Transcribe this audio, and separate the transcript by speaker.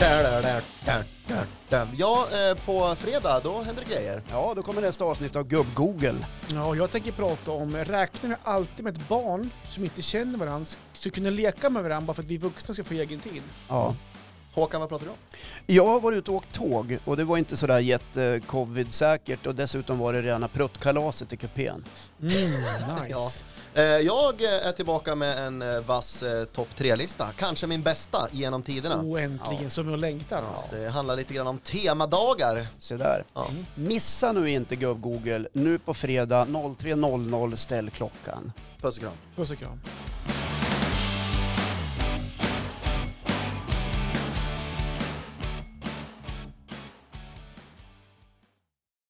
Speaker 1: Där, där, där, där, där, där. Ja, eh, på fredag då händer det grejer.
Speaker 2: Ja, då kommer nästa avsnitt av Gubb-Google.
Speaker 3: Ja, och jag tänker prata om, räknar vi alltid med ett barn som inte känner varandra, ska kunna leka med varandra bara för att vi vuxna ska få egen tid?
Speaker 2: Ja.
Speaker 1: Håkan, vad pratar du om?
Speaker 2: Jag var ute och åkt tåg och det var inte sådär jätte-covid-säkert och dessutom var det rena pruttkalaset i kupén.
Speaker 3: Mm, nice.
Speaker 1: Ja. Eh, Jag eh, är tillbaka med en eh, vass eh, topp tre-lista. Kanske min bästa genom tiderna.
Speaker 3: Och äntligen, som jag längtat.
Speaker 1: Det handlar lite grann om temadagar.
Speaker 2: Se där.
Speaker 1: Ja.
Speaker 2: Missa nu inte Gubb-Google. Nu på fredag 03.00 ställ klockan.
Speaker 1: Puss och kram.
Speaker 3: Puss och kram.